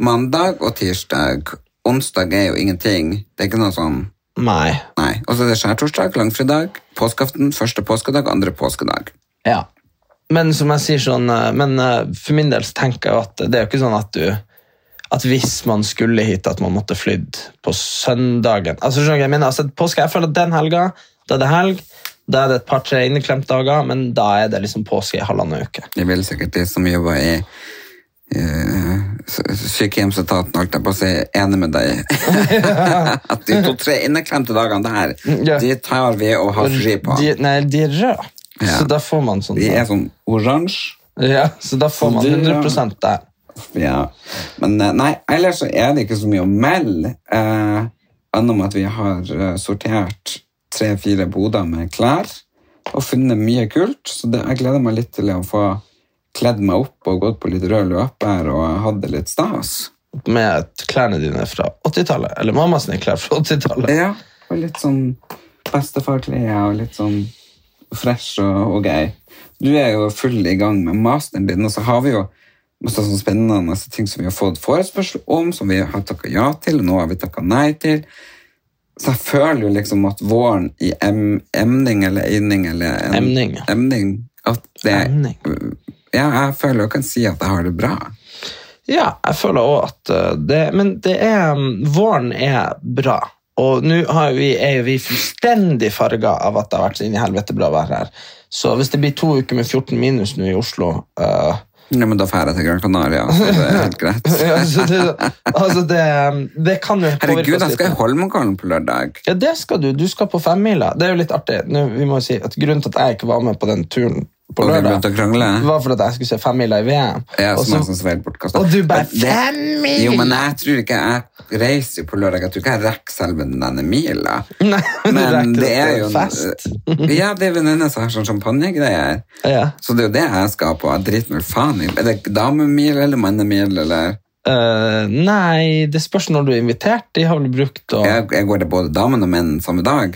A: mandag og tirsdag. Onsdag er jo ingenting. Det er ikke noe sånn
B: Nei.
A: Nei. Og så er det skjærtorsdag, langfredag, påskeaften, første påskedag, andre påskedag.
B: Ja. Men som jeg sier sånn eh, Men eh, for min del så tenker jeg jo at det er jo ikke sånn at du at hvis man skulle hit, at man måtte flydd på søndagen altså, skjønner du hva jeg, mener? altså, påske, jeg føler at den helga, da er det helg, da er det et par-tre inneklemte dager, men da er det liksom påske i halvannen uke.
A: Det vil sikkert de som jobber i eh, s- sykehjemsetaten, holdt jeg på å si, enig med deg. i. At de to-tre inneklemte dagene der,
B: Ja.
A: de tar vi og har fri på.
B: De, nei, de er røde.
A: Ja.
B: Så da får man sånn
A: De er sånn oransje.
B: ja, Så da får man
A: de er-
B: 100 der.
A: Ja. Men eh, nei, ellers så er det ikke så mye å melde, eh, annet om at vi har eh, sortert tre-fire boder med klær, og funnet mye kult, så det, jeg gleder meg litt til å få kledd meg opp og gått på litt rød løper og hatt det litt stas.
B: Med at klærne dine er fra 80-tallet. Eller mamma sine klær fra 80-tallet.
A: Ja, og litt sånn bestefarklær og litt sånn og fresh og, og gøy. Du er jo full i gang med masteren din, og så har vi jo masse sånn spennende ting som vi har fått forespørsel om, som vi har takka ja til, og nå har vi takka nei til. Så jeg føler jo liksom at våren i em, emning eller eining eller en-
B: Emning.
A: emning at det,
B: Emning.
A: Ja, jeg føler jeg kan si at jeg har det bra.
B: Ja, jeg føler òg at eh, det Men det er mm, Våren er bra. Og nå har vi, er jo vi fullstendig farga av at det har vært så inn i helvete bra vær her. Så hvis det blir to uker med 14 minus nå i Oslo eh,
A: Ja, men da drar jeg til Gran Canaria, så det er helt greit.
B: altså, det, altså det, det kan jo påvirke
A: Herregud,
B: oss
A: jeg
B: litt.
A: skal i Holmenkollen på lørdag.
B: Ja, det skal du. Du skal på femmila. Det er jo litt artig. Nå, vi må jo si at Grunnen til at jeg ikke var med på den turen på
A: Og vi
B: lørdag,
A: begynte å krangle.
B: var for at jeg skulle se femmila i VM.
A: Ja,
B: Og
A: som
B: så-
A: er sånn svært bortkastet.
B: Og du bare,
A: Men det-
B: fem mil!
A: Jo, men jeg tror ikke jeg reiser jo på lørdag. Jeg tror ikke jeg rekker selve denne mila.
B: Nei, men du
A: Men
B: rekker
A: det
B: at
A: er
B: det
A: jo
B: er fest.
A: Ja, det er venninne som har sånn champagnegreier.
B: Ja.
A: Så det er jo det jeg skal på. Jeg driter meg faen i. Er det damemil eller mannemil, eller
B: Eh, nei, det spørs når du er invitert. De har vel brukt å ja.
A: jeg, jeg går til både damen og menn samme dag.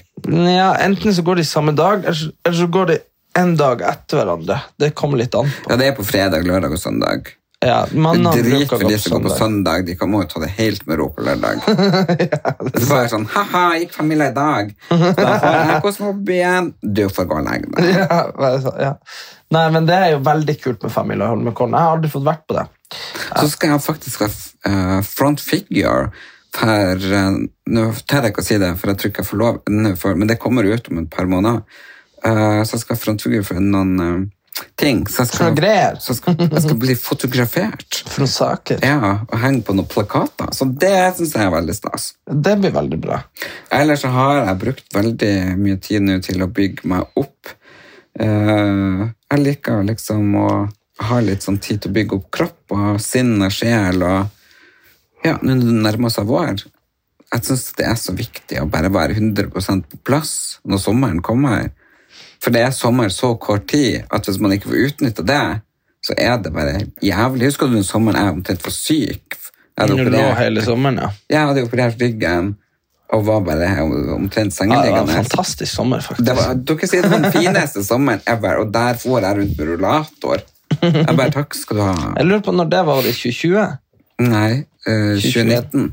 B: Enten så går de samme dag, eller så- eller så går de en dag etter hverandre. Det kommer litt an på.
A: Ja, det er på fredag, lørdag og søndag.
B: Ja, mannene
A: Drit
B: bruker å
A: for
B: gå
A: de
B: på
A: som går på
B: søndag.
A: søndag. De kan må jo ta det helt med ro på lørdag. det er bare sånn Ha-ha, gikk Camilla i dag? Da får jeg kosmobb igjen. Du får gå og legge deg.
B: Ja, hva er det så- ja. Nei, men det er jo veldig kult med femmila i Holmenkollen. Jeg har aldri fått vært på det.
A: Så skal jeg faktisk ha eh, front figure for eh, Nå tør jeg ikke å si det, for jeg tror ikke jeg får lov ennå, for- men det kommer ut om et par måneder. Eh, så jeg skal ha front figure for noen eh, ting. Så jeg
B: For
A: skal,
B: noen greier.
A: så skal, jeg skal bli fotografert.
B: For noen saker.
A: Ja, og henge på noen plakater. Så det syns jeg er veldig stas.
B: Det blir veldig bra.
A: Ellers så har jeg brukt veldig mye tid nå til å bygge meg opp. Eh, jeg liker liksom å ha litt sånn tid til å bygge opp kropp og sinn og sjel og Ja, nå når det nærmer seg vår. Jeg syns det er så viktig å bare være 100 på plass når sommeren kommer. For det er sommer så kort tid at hvis man ikke får utnytta det, så er det bare jævlig. Husker du den sommeren jeg omtrent var syk? Jeg hadde
B: Når du lå
A: operert.
B: hele sommeren, ja.
A: Jeg hadde operert ryggen og var bare omtrent
B: ja det var en
A: sengeliggende.
B: fantastisk sommer, faktisk.
A: det var, dere sier det var den fineste sommeren ever, og der får jeg rundt med rullator. Jeg bare takk skal du ha.
B: Jeg lurer på når det var, var det 2020?
A: Nei, eh, 2019.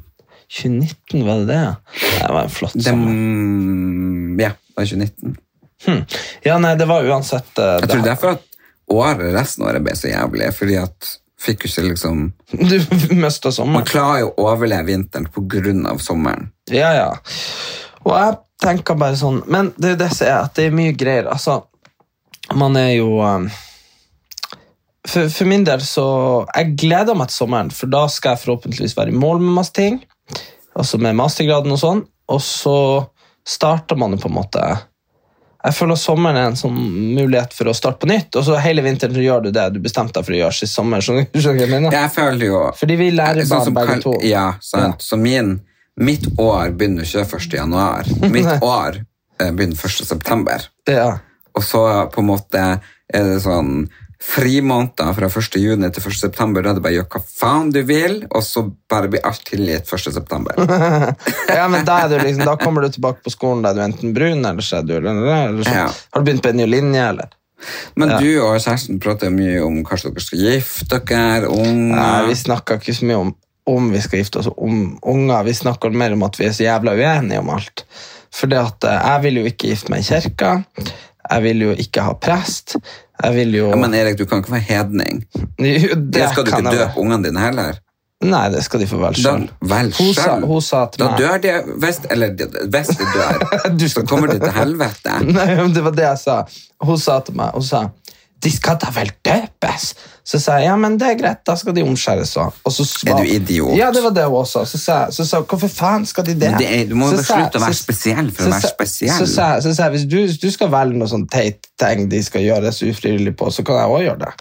B: 2019 var det det, ja. Det var en flott
A: Det,
B: sommer.
A: mm, ja, det var 2019.
B: Hm. Ja, nei, det var uansett eh,
A: Jeg tror derfor at året, resten av året ble så jævlig, fordi at fikk jo ikke liksom
B: Du mista
A: Man
B: sommeren.
A: klarer jo å overleve vinteren på grunn av sommeren.
B: Ja, ja. Og jeg tenker bare sånn Men det er jo det som er at det er mye greier. Altså, man er jo eh, for, for min del så Jeg gleder meg til sommeren, for da skal jeg forhåpentligvis være i mål med masse ting. Altså med mastergraden og sånn. Og så starter man jo på en måte Jeg føler sommeren er en sånn mulighet for å starte på nytt, og så hele vinteren så gjør du det du bestemte deg for å gjøre sist sommer. skjønner du hva jeg mener?
A: Jeg føler jo
B: Fordi vi lærer
A: Sånn
B: bare
A: som
B: begge
A: Karl-
B: to.
A: Ja, sant. Så min, mitt år begynner ikke 1. januar. Mitt år eh, begynner 1. september.
B: ja.
A: Og så på en måte er det sånn frimåneder fra 1. juni til 1. september, da er det bare å gjøre hva faen du vil, og så bare blir alt tilgitt 1. september.
B: Ja, men da, er du liksom, da kommer du tilbake på skolen der du er enten brun eller så er du eller, eller så.
A: Ja.
B: Har du begynt på en ny linje, eller?
A: Men du og kjæresten prater jo mye om kanskje dere skal gifte dere,
B: Nei, vi
A: unger.
B: snakker ikke så mye om om vi skal gifte oss, og om unger. Vi snakker mer om at vi er så jævla uenige om alt. For det at eh, jeg vil jo ikke gifte meg i kirka. Jeg vil jo ikke ha prest. Jeg vil jo,
A: Ja, men Erik, du kan ikke være hedning.
B: Jo,
A: Det skal du
B: kan
A: ikke
B: jeg
A: døpe ungene dine heller.
B: vel. Nei, det skal de få velge
A: Da,
B: sjøl.
A: vel
B: Hun sa-
A: selv.
B: hun sa til
A: Da
B: meg-
A: dør de, hvis, eller hvis de dør,
B: Du
A: så
B: skal-
A: kommer de til helvete.
B: Nei, men det var det jeg sa. Hun sa til meg hun sa, De skal da vel døpes? Så sa jeg ja, men det er greit, da skal de omskjæres. også.» Og så svar-
A: Er du idiot?
B: Ja, det var det hun også. Så sa jeg så sa, hun, hvorfor faen skal de det?
A: Men det er- du må jo
B: Så sa jeg-
A: slutte å være
B: så-
A: spesiell for å
B: så
A: være
B: sa-
A: spesiell.
B: Så sa jeg- så sa jeg hvis du, hvis du skal velge noe sånn teit ting de skal gjøres ufrivillig på, så kan jeg òg gjøre det.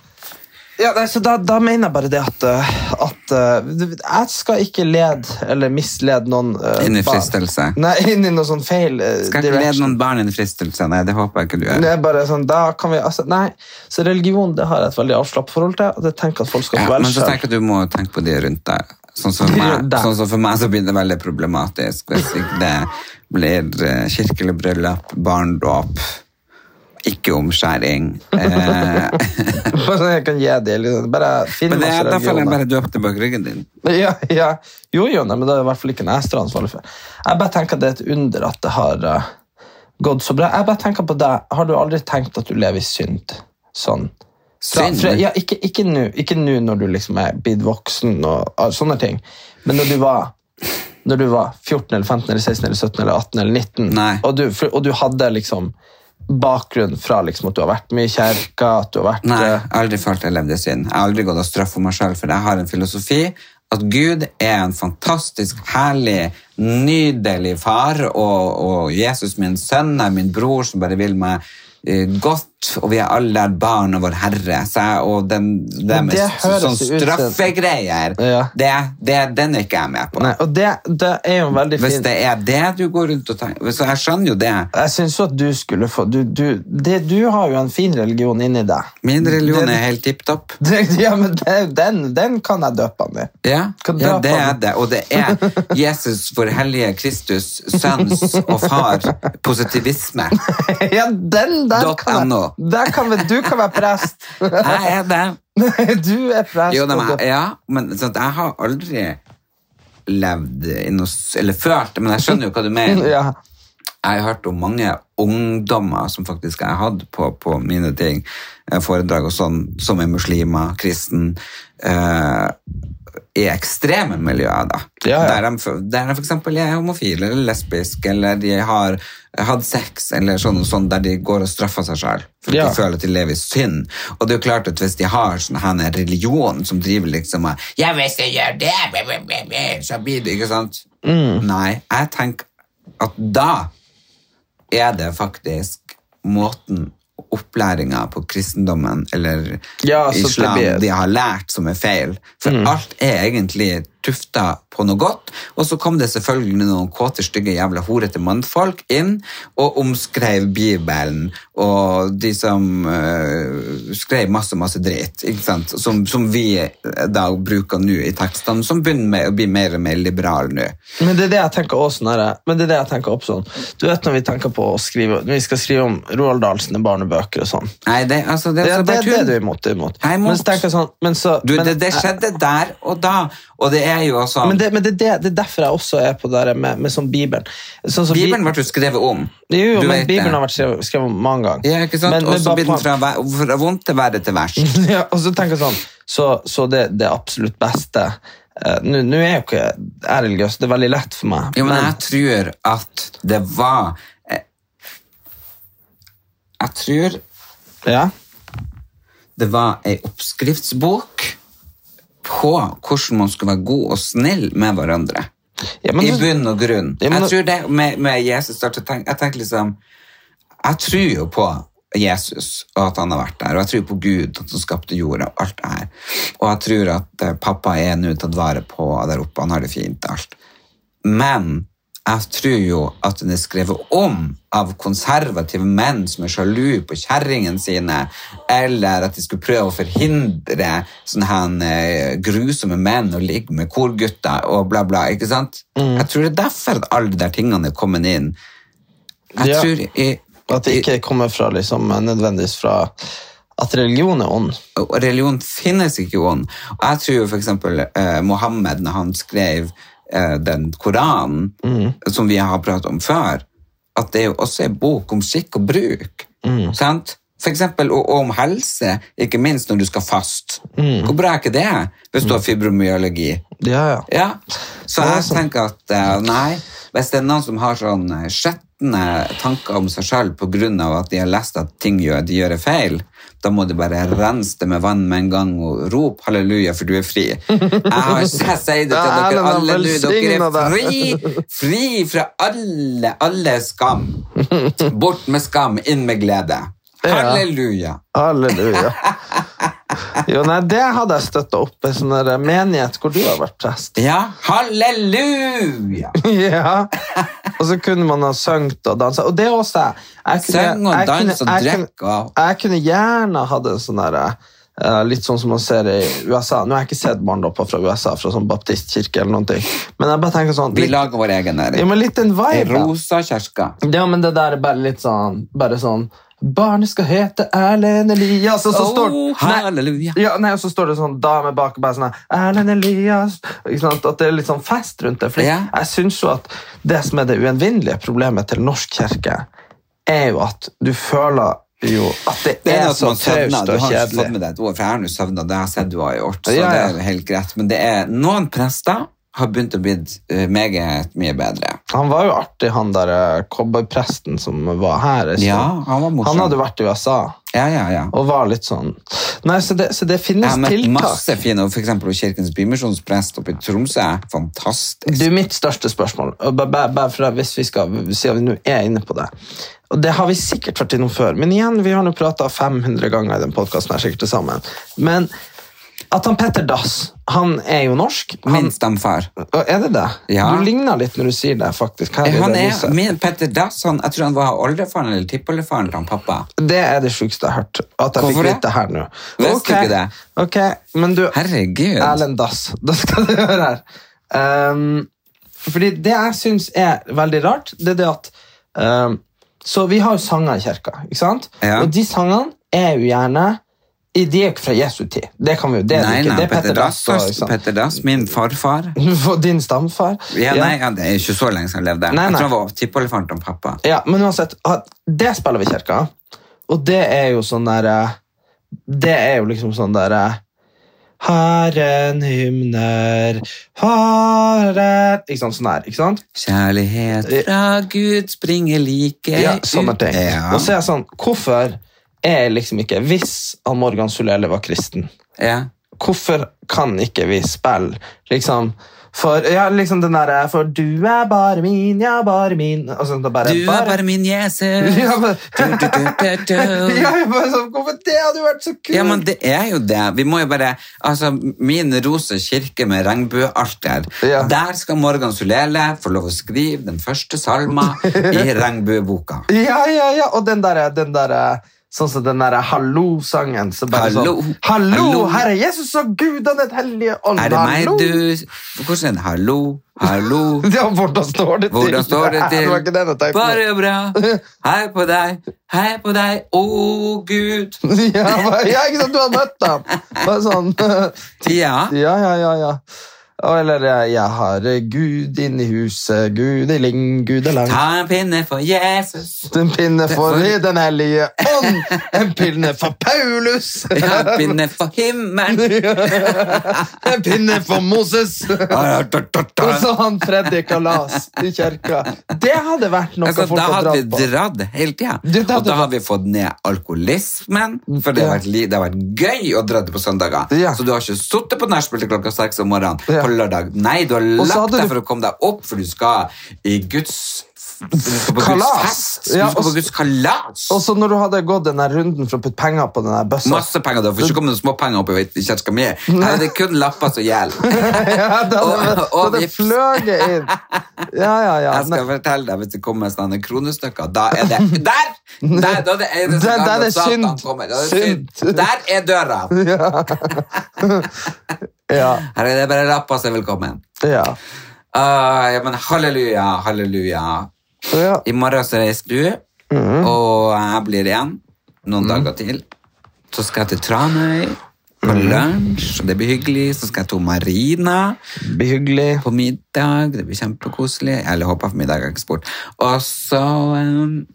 B: Ja, nei, så da, da mener jeg bare det at, uh, at uh, jeg skal ikke lede eller mislede noen uh,
A: Inn i
B: barn.
A: fristelse.
B: Nei, inn i noe sånn feil uh,
A: Skal ikke lede noen barn inn i fristelse. Nei, det håper jeg ikke du gjør.
B: det er bare sånn, da kan vi, altså, nei, så religion det har jeg et veldig avslappet forhold til, og det tenker jeg at folk skal
A: Ja,
B: få
A: men
B: velge
A: så
B: selv.
A: tenker jeg at du må tenke på de rundt deg. Sånn som,
B: De
A: meg.
B: rundt deg.
A: sånn som for meg så blir det veldig problematisk hvis ikke det blir eh, kirkelig bryllup, barndåp ikke omskjæring. Eh,
B: Bare sånn jeg kan gi det. Liksom. Bare finn
A: men det,
B: masse
A: er derfor jeg
B: religioner.
A: bare døpte bak ryggen din.
B: Ja, ja. Jo, jo, nei, men det er i hvert fall ikke noe jeg står ansvarlig for. Jeg bare tenker at det er et under at det har eh, gått så bra. Jeg bare tenker på deg. Har du aldri tenkt at du lever i synd? Sånn. Fra,
A: Synd?
B: fra, ja, ikke ikke nå ikke nå når du liksom er blitt voksen og, og sånne ting, men når du var når du var 14, eller 15, eller 16, eller 17, eller 18 eller 19,
A: Nei.
B: og du, for, og du hadde liksom bakgrunn fra liksom at du har vært mye i kjerka, at du har vært
A: Nei, jeg
B: eh,
A: har aldri følt jeg levde i synd. Jeg har aldri gått og straffa meg sjøl, for jeg har en filosofi at Gud er en fantastisk, herlig, nydelig far, og, og Jesus min sønn er min bror som bare vil meg eh, godt, og vi er alle der barn av vår Herre. Så jeg, og den, det
B: Men
A: med
B: det
A: s-
B: høres
A: sånn
B: jo ut som-
A: straffegreier,
B: Ja.
A: det, det, den er ikke jeg med på.
B: Nei, og det, det er jo en veldig
A: Hvis
B: fin
A: det er det du går rundt og tenker Så jeg skjønner jo det.
B: Jeg syns jo at du skulle få du, du, det, du har jo en fin religion inni deg.
A: Min religion
B: Den-
A: er helt tipp topp.
B: Det- Ja, men det, den, den kan jeg døpe han i.
A: Ja,
B: Kan
A: ja,
B: dra
A: det
B: på
A: er
B: den.
A: det. Og det er Jesus, vår hellige Kristus, sønns og far, positivisme.
B: Ja, den der
A: Dot
B: kan,
A: NO.
B: jeg, der kan vi- Du kan være prest.
A: Jeg er det.
B: Du er prest.
A: Jo, nei,
B: og
A: men,
B: du-
A: ja, men sånn at jeg har aldri levd i noe s- Eller ført, men jeg skjønner jo hva du mener.
B: ja.
A: Jeg har hørt om mange ungdommer som faktisk jeg har hatt på, på mine ting, eh, foredrag og sånn, som er muslimer, kristen, eh, i ekstreme miljøer, da.
B: Ja, ja.
A: Der, de, f- der de for eksempel er homofile eller lesbiske, eller de har hatt sex, eller sånn og sånn, der de går og straffer seg selv, for
B: Ja.
A: de føler at de lever i synd. Og det er jo klart at hvis de har sånn her en religion som driver liksom med, ja, hvis jeg gjør det, bæ, bæ, bæ, bæ», så blir det, ikke sant?
B: Mm.
A: Nei, jeg tenker at da er det faktisk måten opplæringa på kristendommen eller
B: Ja, så det
A: islam
B: blir- Mm.
A: de har lært, som er feil. For alt er egentlig tufta på noe godt. Og så kom det selvfølgelig noen kåte, stygge, jævla horete mannfolk inn og omskrev Bibelen. Og de som eh, skrev masse, masse dritt, ikke sant? Som, som vi da bruker nå i tekstene, som begynner med å bli mer og mer liberale nå.
B: Men det er det jeg tenker også sånn her, Men det er det jeg tenker også sånn. Du vet når vi tenker på å skrive Når vi skal skrive om Roald Dahl sine barnebøker og sånn.
A: Nei, det, altså, det er
B: Ja,
A: så
B: det
A: bare
B: er det
A: tull.
B: du er imot. Du er imot.
A: Jeg er imot.
B: Men så tenker jeg sånn men så,
A: Du,
B: men,
A: det, det skjedde der og da, og det er jo sånn
B: men, det, men det, er det, det er derfor jeg også er på det der med, med sånn Bibelen. Sånn som Bi-
A: Bibelen ble jo skrevet om.
B: Jo, jo,
A: Du
B: men
A: vet
B: Bibelen
A: det.
B: har vært skrevet, skrevet mange ganger.
A: Ja, ikke sant?
B: Men- men
A: Og så
B: bare
A: blir den
B: poen-
A: fra, ver- fra vondt til verre til verst.
B: ja, og så tenker jeg sånn, så, så det, det absolutt beste eh, Nå nå er jeg jo ikke jeg er religiøs, det er veldig lett for meg.
A: Jo, men jeg tror at det var eh, Jeg tror
B: ja,
A: det var ei oppskriftsbok på hvordan man skal være god og snill med hverandre.
B: ja, men,
A: I
B: du-
A: bunn og grunn.
B: Ja, men
A: jeg
B: nå-
A: tror det med, med Jesus starter å tenke Jeg tenker liksom Jeg tror jo på Jesus og at han har vært der, og jeg tror på Gud at han skapte jorda og alt det her. Og jeg tror at eh, pappa er nå tatt vare på der oppe, han har det fint og alt. Men jeg tror jo at den er skrevet om av konservative menn som er sjalu på kjerringene sine, eller at de skulle prøve å forhindre sånne her eh, grusomme menn å ligge med korgutter og bla, bla. ikke sant?
B: Mm.
A: Jeg tror det er derfor at alle de der tingene er kommet inn. Jeg
B: Ja.
A: tror i,
B: at det ikke kommer fra liksom, nødvendigvis fra at religion er ond.
A: og religion finnes ikke ond. Og jeg tror jo for eksempel eh, Mohammed, når han skrev eh, den Koranen, som vi har pratet om før, at det er jo også en bok om skikk og bruk. Sant? For eksempel og, og om helse, ikke minst når du skal fast. Hvor bra er ikke det hvis du har fibromyologi?
B: Ja, ja.
A: Ja, så
B: Ja,
A: jeg
B: sånn.
A: tenker at eh, nei, hvis det er noen som har sånn eh, skjetne tanker om seg selv på grunn av at de har lest at ting gjør, de gjør er feil, da må du bare rense det med vann med en gang og rop halleluja, for du er fri. Jeg, har, jeg sier det til
B: Ja,
A: dere
B: Erlend har
A: alle nå, dere
B: velsignet
A: er
B: deg.
A: fri, fri fra alle, alle skam. Bort med skam, inn med glede.
B: Ja.
A: Halleluja.
B: Halleluja. Jo, nei, det hadde jeg støtta opp. En sånn der menighet hvor du har vært prest.
A: Ja, halleluja.
B: Ja. Og så kunne man ha sunget og dansa. Og det også jeg. jeg kunne-
A: Søng og
B: jeg kunne-
A: dans og
B: jeg kunne-
A: drekk og
B: Jeg kunne gjerne hatt en sånn derre eh, litt sånn som man ser i USA. Nå har jeg ikke sett barndopper fra USA, fra sånn baptistkirke eller noen ting. Men jeg bare tenker sånn
A: Vi
B: litt,
A: lager vår egen næring.
B: ja, men litt den
A: Ei
B: viben.
A: rosa kjerska.
B: Ja, men det der er bare litt sånn Bare sånn 'Barnet skal hete Erlend Elias', og så står Oh, nei,
A: halleluja.
B: ja, nei, og så står det sånn dame bak og bare sånn her, Erlend Elias ikke sant? At det er litt sånn fest rundt det. For
A: Ja.
B: jeg syns jo at det som er det uenvinnelige problemet til norsk kirke, er jo at du føler jo at det,
A: Det er
B: er,
A: noe som
B: så
A: man
B: taust
A: søvner. Du
B: og
A: har ikke fått
B: kjedelig.
A: med deg et ord, for jeg har nå søvna det jeg har sett du har gjort. Så
B: Ja, ja.
A: det er helt greit. Men det er noen prester har begynt å bli eh, meget mye bedre.
B: Han var jo artig, han der eh, cowboypresten som var her. ikke
A: Ja,
B: sant?
A: han var morsom.
B: han hadde vært i USA
A: Ja, ja, ja.
B: og var litt sånn Nei, så det, så det
A: Jeg
B: finnes
A: har møtt
B: tiltak.
A: masse fine, og for eksempel Kirkens Bymisjons prest oppe i Tromsø. Fantastisk.
B: Du, mitt største spørsmål, og bare, bare, bare for at hvis vi skal si at vi nå er inne på det og Det har vi sikkert vært innom før, men igjen, vi har nå prata 500 ganger i den podkasten her, sikkert til sammen. Men at han Petter Dass, han er jo norsk. Han,
A: Min stamfar.
B: Å, er det det?
A: Ja.
B: Du ligner litt når du sier det, faktisk. Her i
A: Han
B: det,
A: er,
B: lyset.
A: min Petter Dass, han, jeg tror han var oldefaren eller tippoldefaren til han pappa.
B: det er det sjukeste jeg har hørt. At jeg
A: Hvorfor
B: fikk
A: det?
B: vite her nå.
A: Visste
B: Ok,
A: ikke det.
B: Ok, men du,
A: Herregud.
B: Erlend Dass. Da skal du høre her. Ehm, fordi det jeg syns er veldig rart, det er det at ehm, Så vi har jo sanger i kirka, ikke sant?
A: Ja.
B: Og de sangene er jo gjerne i- De er jo ikke fra Jesu tid. Det kan vi jo, det er det
A: Nei,
B: ikke.
A: nei,
B: det er
A: Petter Dass,
B: og- ikke sant?
A: Petter Dass, min farfar.
B: For din stamfar.
A: Ja, nei, ja, Det er ikke så lenge siden han levde.
B: Nei,
A: Jeg
B: nei.
A: tror han var tippoldefaren til han pappa.
B: Ja, men uansett, ha- det spiller vi i kirka, og det er jo sånn der eh, Det er jo liksom sånn der eh, Herren hymner, Herren Ikke sant, sånn der, ikke sant?
A: Kjærlighet fra Gud springer like
B: Ja, sånne
A: ut.
B: ting.
A: Ja.
B: Og så er jeg sånn, hvorfor er liksom ikke Hvis han Morgan Sulele var kristen,
A: ja.
B: hvorfor kan ikke vi spille liksom for, ja, liksom den der, for du er bare min, ja, bare min altså, det er bare,
A: Du er bare min Jesus.
B: Ja, men-
A: Du, du, du, du, du.
B: Ja, jeg bare sånn, hvorfor det hadde jo vært så kult!
A: Ja, men det er jo det. Vi må jo bare, altså, Min rosa kirke med regnbuealter.
B: Ja.
A: Der skal Morgan Sulele få lov å skrive den første salma i regnbueboka.
B: Ja, ja, ja, og den der, den der Sånn som den der hallo-sangen så bare
A: Hallo.
B: sånn, hallo,
A: Hallo.
B: Herre Jesus og Gud han er et hellige ånd
A: Er det meg,
B: hallo.
A: du Hvordan er det? Hallo, hallo.
B: Ja, hvordan står det til?
A: Hvordan står det til?
B: Det var ikke den jeg tenkte på.
A: Bare bra. Hei på deg, hei på deg, å Gud.
B: ja, bare, ja, ikke sant, du har møtt ham Bare sånn
A: Ja.
B: Ja, ja, ja, ja Og Eller eh, jeg har eh, Gud inn i huset Gud er ling, Gud er lang
A: Ta en pinne for Jesus.
B: En pinne for
A: for-
B: den hellige ånd En pinne for Paulus
A: Ja, pinne for himmelen.
B: En pinne for Moses Og så han Freddy Kalas i kjerka Det hadde vært noe
A: Altså,
B: folk
A: da
B: hadde
A: hadde vi
B: dratt på
A: dratt hele tida.
B: Det hadde
A: Og da
B: vi-
A: har vi fått ned alkoholismen, for det har
B: Ja.
A: vært, li- det har vært gøy å dra det på søndager.
B: Ja.
A: Så du har ikke sittet på nachspiel til klokka seks om morgenen
B: Ja.
A: på lørdag. Nei, du har
B: Og så
A: lagt
B: hadde
A: deg
B: du-
A: for å komme deg opp, for du skal i Guds du skal på
B: Kalas.
A: Guds fest. Du
B: Ja,
A: skal
B: og-
A: på Guds kalas.
B: Og så når du hadde gått den der runden for å putte penger på den der bøssa
A: Masse penger. Du får ikke komme noen småpenger opp i kirka mi. Her er det kun lapper som gjelder.
B: Ja, da hadde,
A: Og- og
B: da hadde
A: vips.
B: fløget inn. Ja, ja, ja.
A: Jeg skal fortelle deg hvis det kommer sånne kronestykker. Da er det Der! Der, da er det eneste
B: Der-
A: gang
B: der er
A: at Satan
B: synd.
A: kommer. Da er det synd.
B: Synd.
A: Der er døra!
B: ja,
A: Her er det bare rappa seg velkommen.
B: ja,
A: Ah, ja, men halleluja, halleluja.
B: ja.
A: I morgen så reiser du,
B: Mhm.
A: og jeg blir igjen noen dager til. Så skal jeg til Tranøy på
B: Mhm.
A: lunsj, og det blir hyggelig. Så skal jeg til Marina.
B: Det blir hyggelig.
A: på middag, det blir kjempekoselig. Eller håper på middag, jeg har ikke spurt. Og så em,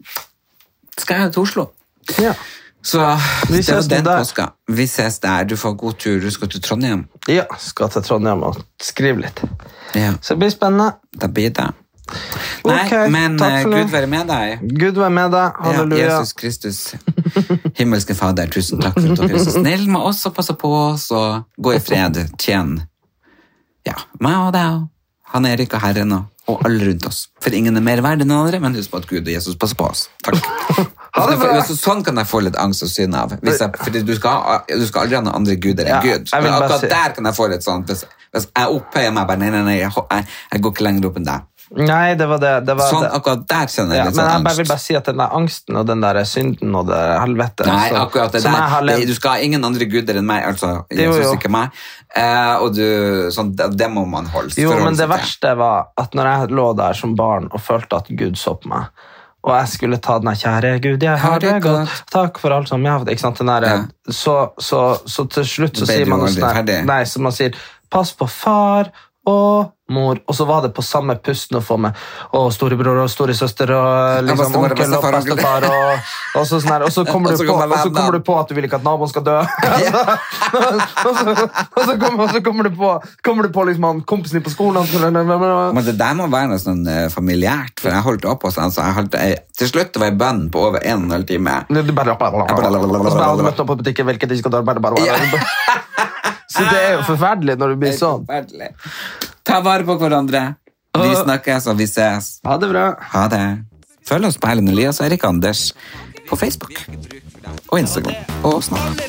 A: skal jeg til Oslo.
B: Ja.
A: Så
B: Vi
A: det var
B: ses nå
A: den
B: der.
A: påska. Vi ses der. Du får god tur. Du skal til Trondheim.
B: ja, skal til Trondheim og skrive litt.
A: Ja,
B: Så det blir spennende.
A: da blir det. Nei,
B: Ok,
A: men
B: takk
A: eh,
B: for det.
A: Gud være med deg.
B: Gud være med deg. Halleluja.
A: Ja, Jesus Kristus. Himmelske Fader, tusen takk for at dere er så snill med oss og passer på oss. Og gå i fred. Tjen ja, meg og deg og han Erik og Herren og, og alle rundt oss. For ingen er mer verdt enn andre, men husk på at Gud og Jesus passer på oss. Takk.
B: Ha det bra.
A: Så, sånn kan jeg få litt angst og synd av. Hvis jeg, fordi du skal, ha- du skal aldri ha noen andre guder enn
B: Ja,
A: Gud.
B: jeg vil
A: Men
B: bare
A: akkurat
B: si-
A: der kan jeg få litt sånn Hvis, hvis jeg opphøyer meg bare Nei, nei, nei, jeg, ho- jeg, jeg går ikke lenger opp enn deg.
B: Nei, det var det. det, var
A: Sånn,
B: det.
A: akkurat der kjenner
B: Ja,
A: jeg litt
B: men
A: sånn
B: jeg bare,
A: angst.
B: vil bare si at den der angsten og den der synden og det der helvete
A: Nei,
B: som-
A: akkurat det
B: som jeg har
A: der.
B: levd-
A: Det, du skal ha ingen andre guder enn meg, altså
B: Jo,
A: Jesus,
B: jo.
A: ikke meg. Eh, og du, sånn, det, det må man holde
B: Jo,
A: forholde
B: men det
A: seg til.
B: verste var at når jeg lå der som barn og følte at Gud så på meg, og jeg skulle ta den her kjære Gud, jeg har det godt, takk for alt som jeg har fått», ikke sant, den her,
A: Ja.
B: så, så, så til slutt
A: Ble
B: så sier
A: du
B: man noe
A: aldri
B: sånn her,
A: ferdig?
B: nei, så man sier, pass på far og mor, og så var det på samme pusten å få med, og storebror og storesøster og
A: Ja,
B: liksom
A: bestemor og
B: onkel og
A: bestefar og onkel.
B: bestefar og, og, så sånn her, og så kommer
A: Og
B: du
A: så
B: på,
A: kommer
B: og så
A: vennene.
B: kommer du på at du vil ikke at naboen skal dø. og, så, og, så kommer, og så kommer du på, kommer du på liksom, han kompisen din på skolen. han skulle-
A: Men det der må være noe sånn eh, familiært, for jeg holdt opp hos han, så jeg holdt, jeg, til slutt var jeg i bønn på over en og en halv time.
B: Du bare, Og så bare hadde møtt opp på butikken, hvilket de skal ta bare, bare, bare. Så det er jo forferdelig når du blir sånn.
A: Forferdelig. Ta vare på hverandre. Vi snakkes, og vi ses.
B: Ha det bra.
A: Ha det. Følg oss på Erlend Elias og Erik Anders på Facebook og Instagram og Snap.